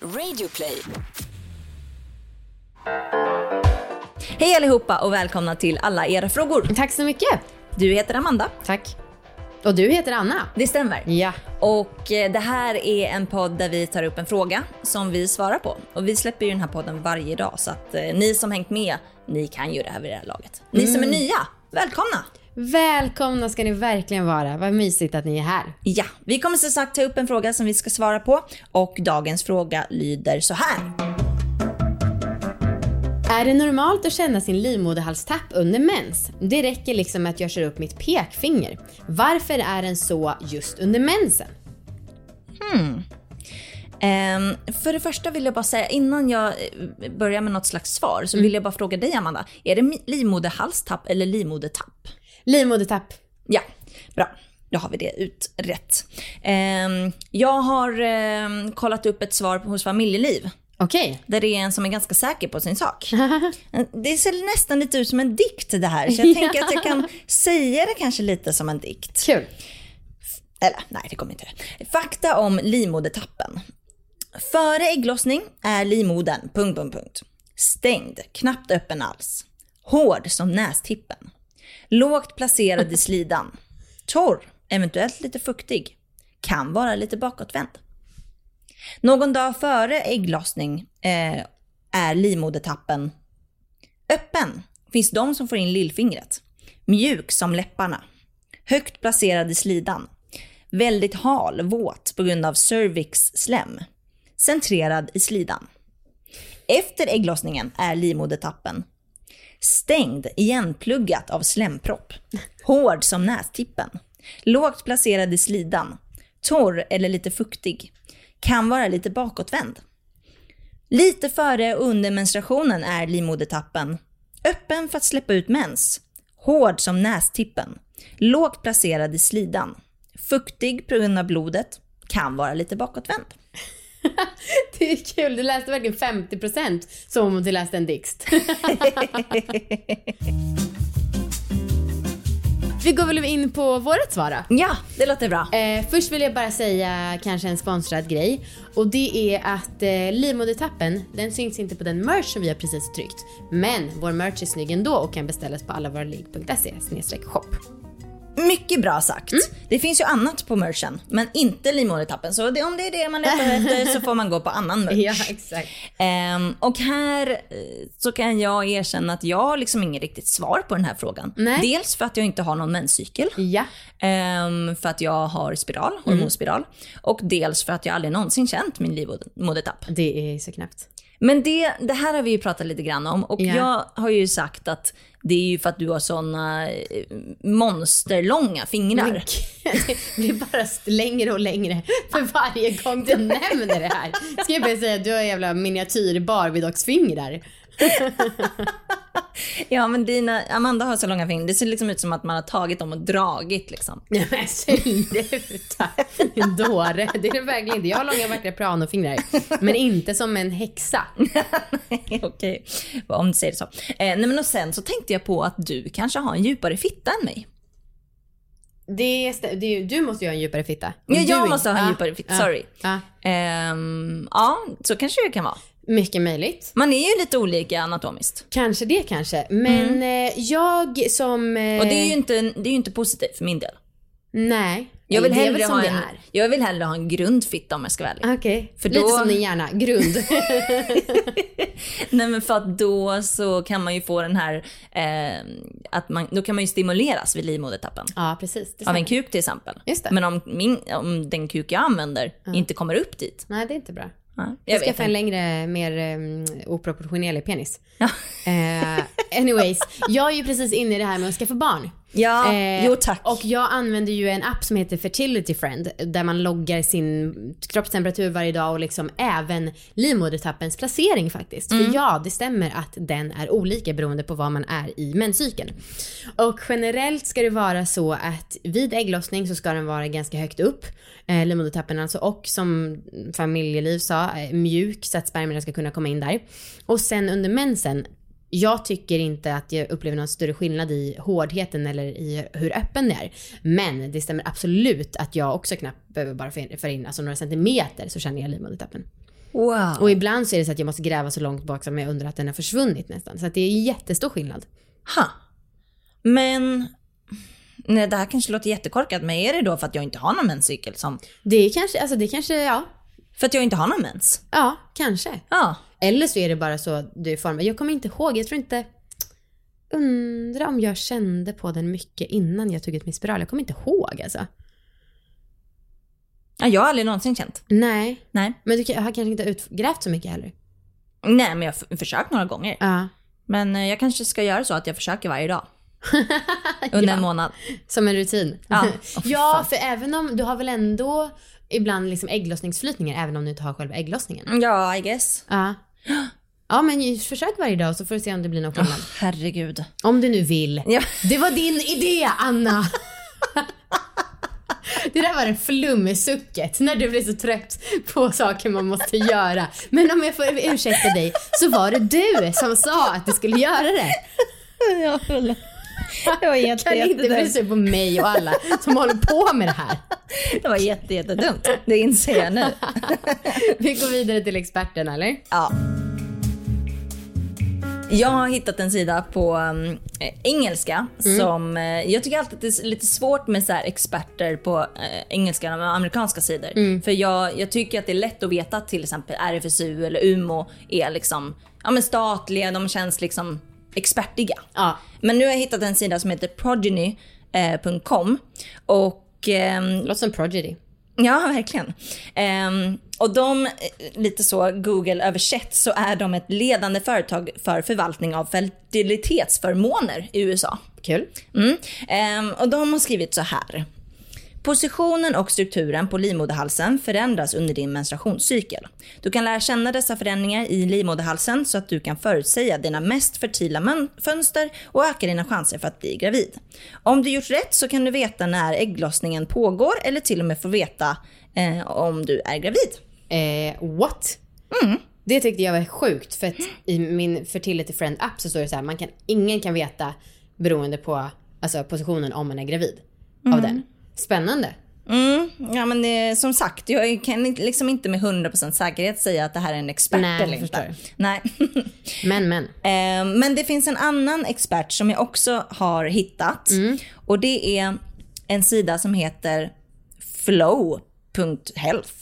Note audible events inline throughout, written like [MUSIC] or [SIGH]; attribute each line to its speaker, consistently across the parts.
Speaker 1: Radioplay.
Speaker 2: Hej allihopa och välkomna till alla era frågor.
Speaker 3: Tack så mycket.
Speaker 2: Du heter Amanda,
Speaker 3: Tack. Och du heter Anna?
Speaker 2: det stämmer.
Speaker 3: Ja.
Speaker 2: Och eh, det här är en podd där vi tar upp en fråga som vi svarar på. Och vi släpper ju den här podden varje dag så att eh, ni som hängt med, ni kan ju det här vid det här laget. Ni som är nya, välkomna!
Speaker 3: Välkomna ska ni verkligen vara. Vad mysigt att ni är här.
Speaker 2: Ja, vi kommer som sagt ta upp en fråga som vi ska svara på och dagens fråga lyder så här.
Speaker 3: Är det normalt att känna sin livmoderhalstapp under mens? Det räcker liksom med att jag kör upp mitt pekfinger. Varför är den så just under mensen?
Speaker 2: Ehm, för det första vill jag bara säga, innan jag eh, börjar med något slags svar, så vill jag bara fråga dig Amanda. Är det mi- livmoderhalstapp eller livmodertapp?
Speaker 3: Livmodertapp.
Speaker 2: Ja, bra. Då har vi det utrett. Ehm, jag har ehm, kollat upp ett svar på- hos Familjeliv,
Speaker 3: Okej.
Speaker 2: där det är en som är ganska säker på sin sak. Eh, Det ser nästan lite ut som en dikt det här, så jag tänker att jag kan säga det kanske lite som en dikt.
Speaker 3: Kul. [LAUGHS]
Speaker 2: Eller nej, det kommer inte. Fakta om livmodertappen. Före ägglossning är livmodern... Punkt, punkt, punkt. Stängd, knappt öppen alls. Hård som nästippen. Lågt placerad i slidan. Torr, eventuellt lite fuktig. Kan vara lite bakåtvänd. Någon dag före ägglossning eh, är livmodertappen öppen. Finns de som får in lillfingret. Mjuk som läpparna. Högt placerad i slidan. Väldigt hal, våt på grund av cervix slem. Centrerad i slidan. Efter ägglossningen är livmodertappen stängd, igenpluggat av slempropp. Hård som nästippen. Lågt placerad i slidan. Torr eller lite fuktig. Kan vara lite bakåtvänd. Lite före och under menstruationen är livmodertappen öppen för att släppa ut mens, hård som nästippen, lågt placerad i slidan, fuktig på grund av blodet, kan vara lite bakåtvänd.
Speaker 3: Det är kul. Du läste verkligen 50% som om du läste en dikt. Vi går väl in på vårt svar då?
Speaker 2: Ja, det låter bra.
Speaker 3: Eh, först vill jag bara säga kanske en sponsrad grej. Och det är att eh, livmodertappen, den syns inte på den merch som vi har precis tryckt. Men vår merch är snygg ändå och kan beställas på allavaraligg.se shop.
Speaker 2: Mycket bra sagt. Det finns ju annat på merchen, men inte livmodertappen. Så det, om det är det man letar [LAUGHS] efter så får man gå på annan merch.
Speaker 3: exakt.
Speaker 2: Ehm, och här eh, så kan jag erkänna att jag har liksom inget riktigt svar på den här frågan.
Speaker 3: Nej.
Speaker 2: Dels för att jag inte har någon menscykel.
Speaker 3: Ja.
Speaker 2: Ehm, för att jag har spiral, hormonspiral. Och dels för att jag aldrig någonsin känt min livmodertapp.
Speaker 3: Det är så knappt.
Speaker 2: Men det, det här har vi ju pratat lite grann om och
Speaker 3: Ja.
Speaker 2: jag har ju sagt att det är ju för att du har såna eh, monsterlånga fingrar.
Speaker 3: Men [LAUGHS] gud, det blir bara st- längre och längre för varje gång du nämner det här. Ska jag börja säga att du har jävla miniatyr Barbie-docksfingrar.
Speaker 2: Ja men dina, Amanda har så långa fingrar, det ser liksom ut som att man har tagit dem och dragit liksom. [LAUGHS]
Speaker 3: Nej men [LAUGHS] sluta! Din dåre. Det är det verkligen inte. Jag har långa vackra pianofingrar. Men inte som en häxa.
Speaker 2: Okej, om du säger det så. Eh, nej men och sen så tänkte jag på att du kanske har en djupare fitta än mig.
Speaker 3: Det är, stä- det är, du måste ju ha en djupare fitta.
Speaker 2: Ja,
Speaker 3: Du
Speaker 2: jag
Speaker 3: är-
Speaker 2: måste ha en
Speaker 3: ja,
Speaker 2: djupare fitta,
Speaker 3: ja,
Speaker 2: sorry.
Speaker 3: Ja.
Speaker 2: Ehm, ja, så kanske det kan vara.
Speaker 3: Mycket möjligt.
Speaker 2: Man är ju lite olika anatomiskt.
Speaker 3: Kanske det kanske. Men eh, jag som... eh,
Speaker 2: Mm. Och det är ju inte, det är ju inte positivt för min del.
Speaker 3: Nej.
Speaker 2: Jag vill,
Speaker 3: det är
Speaker 2: hellre
Speaker 3: väl som
Speaker 2: ha
Speaker 3: det
Speaker 2: en,
Speaker 3: är. Ah.
Speaker 2: jag vill hellre ha en grund fitta om jag ska vara ärlig.
Speaker 3: Okej.
Speaker 2: För
Speaker 3: Lite
Speaker 2: då-
Speaker 3: som din hjärna.
Speaker 2: [LAUGHS]
Speaker 3: Grund.
Speaker 2: Nej men för att då så kan man ju få den här, eh, att man, då kan man ju stimuleras vid livmodertappen.
Speaker 3: ja, precis. Det
Speaker 2: Av
Speaker 3: stämmer.
Speaker 2: en kuk till exempel.
Speaker 3: Just det. Ah.
Speaker 2: Men om, min, om den kuk jag använder inte kommer upp dit.
Speaker 3: Nej, det är inte bra.
Speaker 2: Ja, jag
Speaker 3: Ah. Jag
Speaker 2: vet
Speaker 3: skaffa en
Speaker 2: inte.
Speaker 3: längre, mer um, oproportionerlig penis.
Speaker 2: Ja.
Speaker 3: Eh, anyways, jag är ju precis inne i det här med att skaffa barn.
Speaker 2: [LAUGHS]
Speaker 3: Eh,
Speaker 2: Ja, jo tack.
Speaker 3: Och jag använder ju en app som heter Fertility Friend där man loggar sin kroppstemperatur varje dag och liksom även livmodertappens placering faktiskt.
Speaker 2: Mm.
Speaker 3: För ja, det stämmer att den är olika beroende på vad man är i menscykeln. Och generellt ska det vara så att vid ägglossning så ska den vara ganska högt upp, eh, livmodertappen alltså, och som familjeliv sa, eh, mjuk så att spermierna ska kunna komma in där. Och sen under mensen jag tycker inte att jag upplever någon större skillnad i hårdheten eller i hur öppen det är. Men det stämmer absolut att jag också knappt behöver bara för in, för in alltså några centimeter så känner jag livmodertappen.
Speaker 2: Wow.
Speaker 3: Och ibland så är det så att jag måste gräva så långt bak som jag undrar att den har försvunnit nästan. Så att det är jättestor skillnad.
Speaker 2: Ha. Men, nej, det här kanske låter jättekorkat, men är det då för att jag inte har någon menscykel? Som,
Speaker 3: Det är kanske, alltså det kanske, ja.
Speaker 2: för att jag inte har någon mens?
Speaker 3: Ja, kanske.
Speaker 2: Ja.
Speaker 3: Eller så är det bara så att du är formad. Jag kommer inte ihåg, jag tror inte... Undrar om jag kände på den mycket innan jag tog ut min spiral. Jag kommer inte ihåg alltså.
Speaker 2: ja. Jag har aldrig någonsin känt.
Speaker 3: Nej.
Speaker 2: Nej.
Speaker 3: Men du kan- jag har kanske inte utgrävt så mycket heller.
Speaker 2: Nej, men jag har f- försökt några gånger.
Speaker 3: Ja.
Speaker 2: Men eh, jag kanske ska göra så att jag försöker varje [LAUGHS] dag. Under en månad.
Speaker 3: Som en rutin. [LAUGHS]
Speaker 2: Ja.
Speaker 3: ja, för även om du har väl ändå ibland liksom ägglossningsflytningar även om du inte har själva ägglossningen.
Speaker 2: Ja, I guess.
Speaker 3: Ja. Ja men ju- försök varje dag så får du se om det blir någon skillnad.
Speaker 2: Herregud.
Speaker 3: Om du nu vill.
Speaker 2: [LAUGHS] Ja.
Speaker 3: Det var din idé Anna! [LAUGHS] Det där var det flumsucket när du blir så trött på saker man måste göra. Men om jag får ursäkta dig så var det du som sa att du skulle göra det.
Speaker 2: Jag håller. Det var jätte,
Speaker 3: Kan inte bry sig på mig och alla som håller på med det här.
Speaker 2: Det var jätte, jättedumt. Det inser jag nu.
Speaker 3: [LAUGHS] Vi går vidare till experten eller?
Speaker 2: Ja. Jag har hittat en sida på mm, eh, engelska som eh, jag tycker alltid att det är lite svårt med så här experter på eh, engelska och amerikanska sidor. För jag, jag tycker att det är lätt att veta att till exempel RFSU eller UMO är liksom, ja, men statliga, de känns liksom expertiga.
Speaker 3: Ja.
Speaker 2: Men nu har jag hittat en sida som heter progeny.com och ehm,
Speaker 3: Låter som Prodigy.
Speaker 2: Ja, verkligen. Ehm, och de, eh, lite så Google-översätt, så är de ett ledande företag för förvaltning av fertilitetsförmåner i USA.
Speaker 3: Kul.
Speaker 2: Mm. Ehm, och de har skrivit så här. Positionen och strukturen på livmoderhalsen förändras under din menstruationscykel. Du kan lära känna dessa förändringar i livmoderhalsen så att du kan förutsäga dina mest fertila mön- fönster och öka dina chanser för att bli gravid. Om du gjort rätt så kan du veta när ägglossningen pågår eller till och med få veta eh, om du är gravid.
Speaker 3: Eh, what? Det tyckte jag var sjukt för att i min fertility friend app så står det så här, man kan, ingen kan veta beroende på alltså, positionen om man är gravid av den. Spännande.
Speaker 2: Mm. Ja, men eh, som sagt, jag kan inte- liksom inte med 100% säkerhet säga att det här är en expert
Speaker 3: Nej,
Speaker 2: eller
Speaker 3: jag
Speaker 2: inte.
Speaker 3: förstår.
Speaker 2: Nej. [LAUGHS]
Speaker 3: Men men.
Speaker 2: Eh, Men det finns en annan expert som jag också har hittat.
Speaker 3: Mm.
Speaker 2: Och det är en sida som heter flow.health.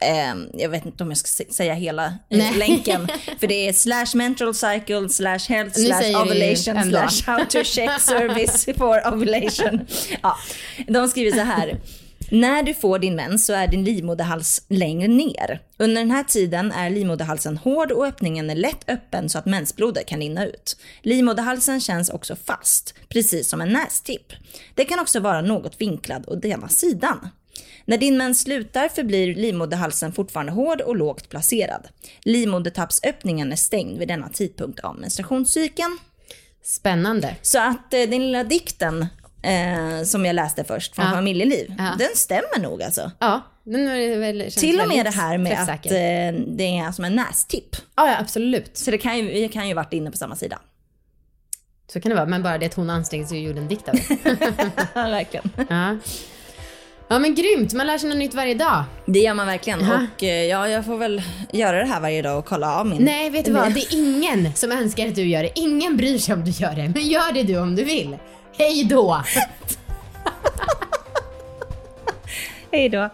Speaker 2: Eh, Jag vet inte om jag ska se- säga hela eh,
Speaker 3: Nej.
Speaker 2: länken. För det är slash menstrual cycle, slash health,
Speaker 3: Nu
Speaker 2: slash
Speaker 3: säger du ju
Speaker 2: ovulation,
Speaker 3: ändå.
Speaker 2: slash how to check service for ovulation. Ja, de skriver så här. När du får din mens så är din livmoderhals längre ner. Under den här tiden är livmoderhalsen hård och öppningen är lätt öppen så att mensblodet kan rinna ut. Livmoderhalsen känns också fast, precis som en nästipp. Det kan också vara något vinklad åt ena sidan. När din mens slutar förblir livmoderhalsen fortfarande hård och lågt placerad. Livmodertappsöppningen är stängd vid denna tidpunkt av menstruationscykeln.
Speaker 3: Spännande.
Speaker 2: Så att eh, den lilla dikten eh, som jag läste först från Familjeliv, den stämmer nog alltså.
Speaker 3: Ja, den är väl känns
Speaker 2: Till och med det
Speaker 3: väldigt
Speaker 2: här med att
Speaker 3: träffsäker.
Speaker 2: eh, det är som en nästipp.
Speaker 3: Ja, ja, absolut.
Speaker 2: Så det kan ju, vi kan ju varit inne på samma
Speaker 3: [LAUGHS]
Speaker 2: sida.
Speaker 3: Så kan det vara, men bara det att hon ansträngde sig och gjorde en dikt av det.
Speaker 2: verkligen.
Speaker 3: ja. ja men grymt, man lär sig något nytt varje dag.
Speaker 2: Det gör man verkligen. Och eh, ja, jag får väl göra det här varje dag och kolla av min.
Speaker 3: Nej, vet du vad? Det är ingen som önskar att du gör det. Ingen bryr sig om du gör det. Men gör det du om du vill. Hej då!
Speaker 2: Hej då.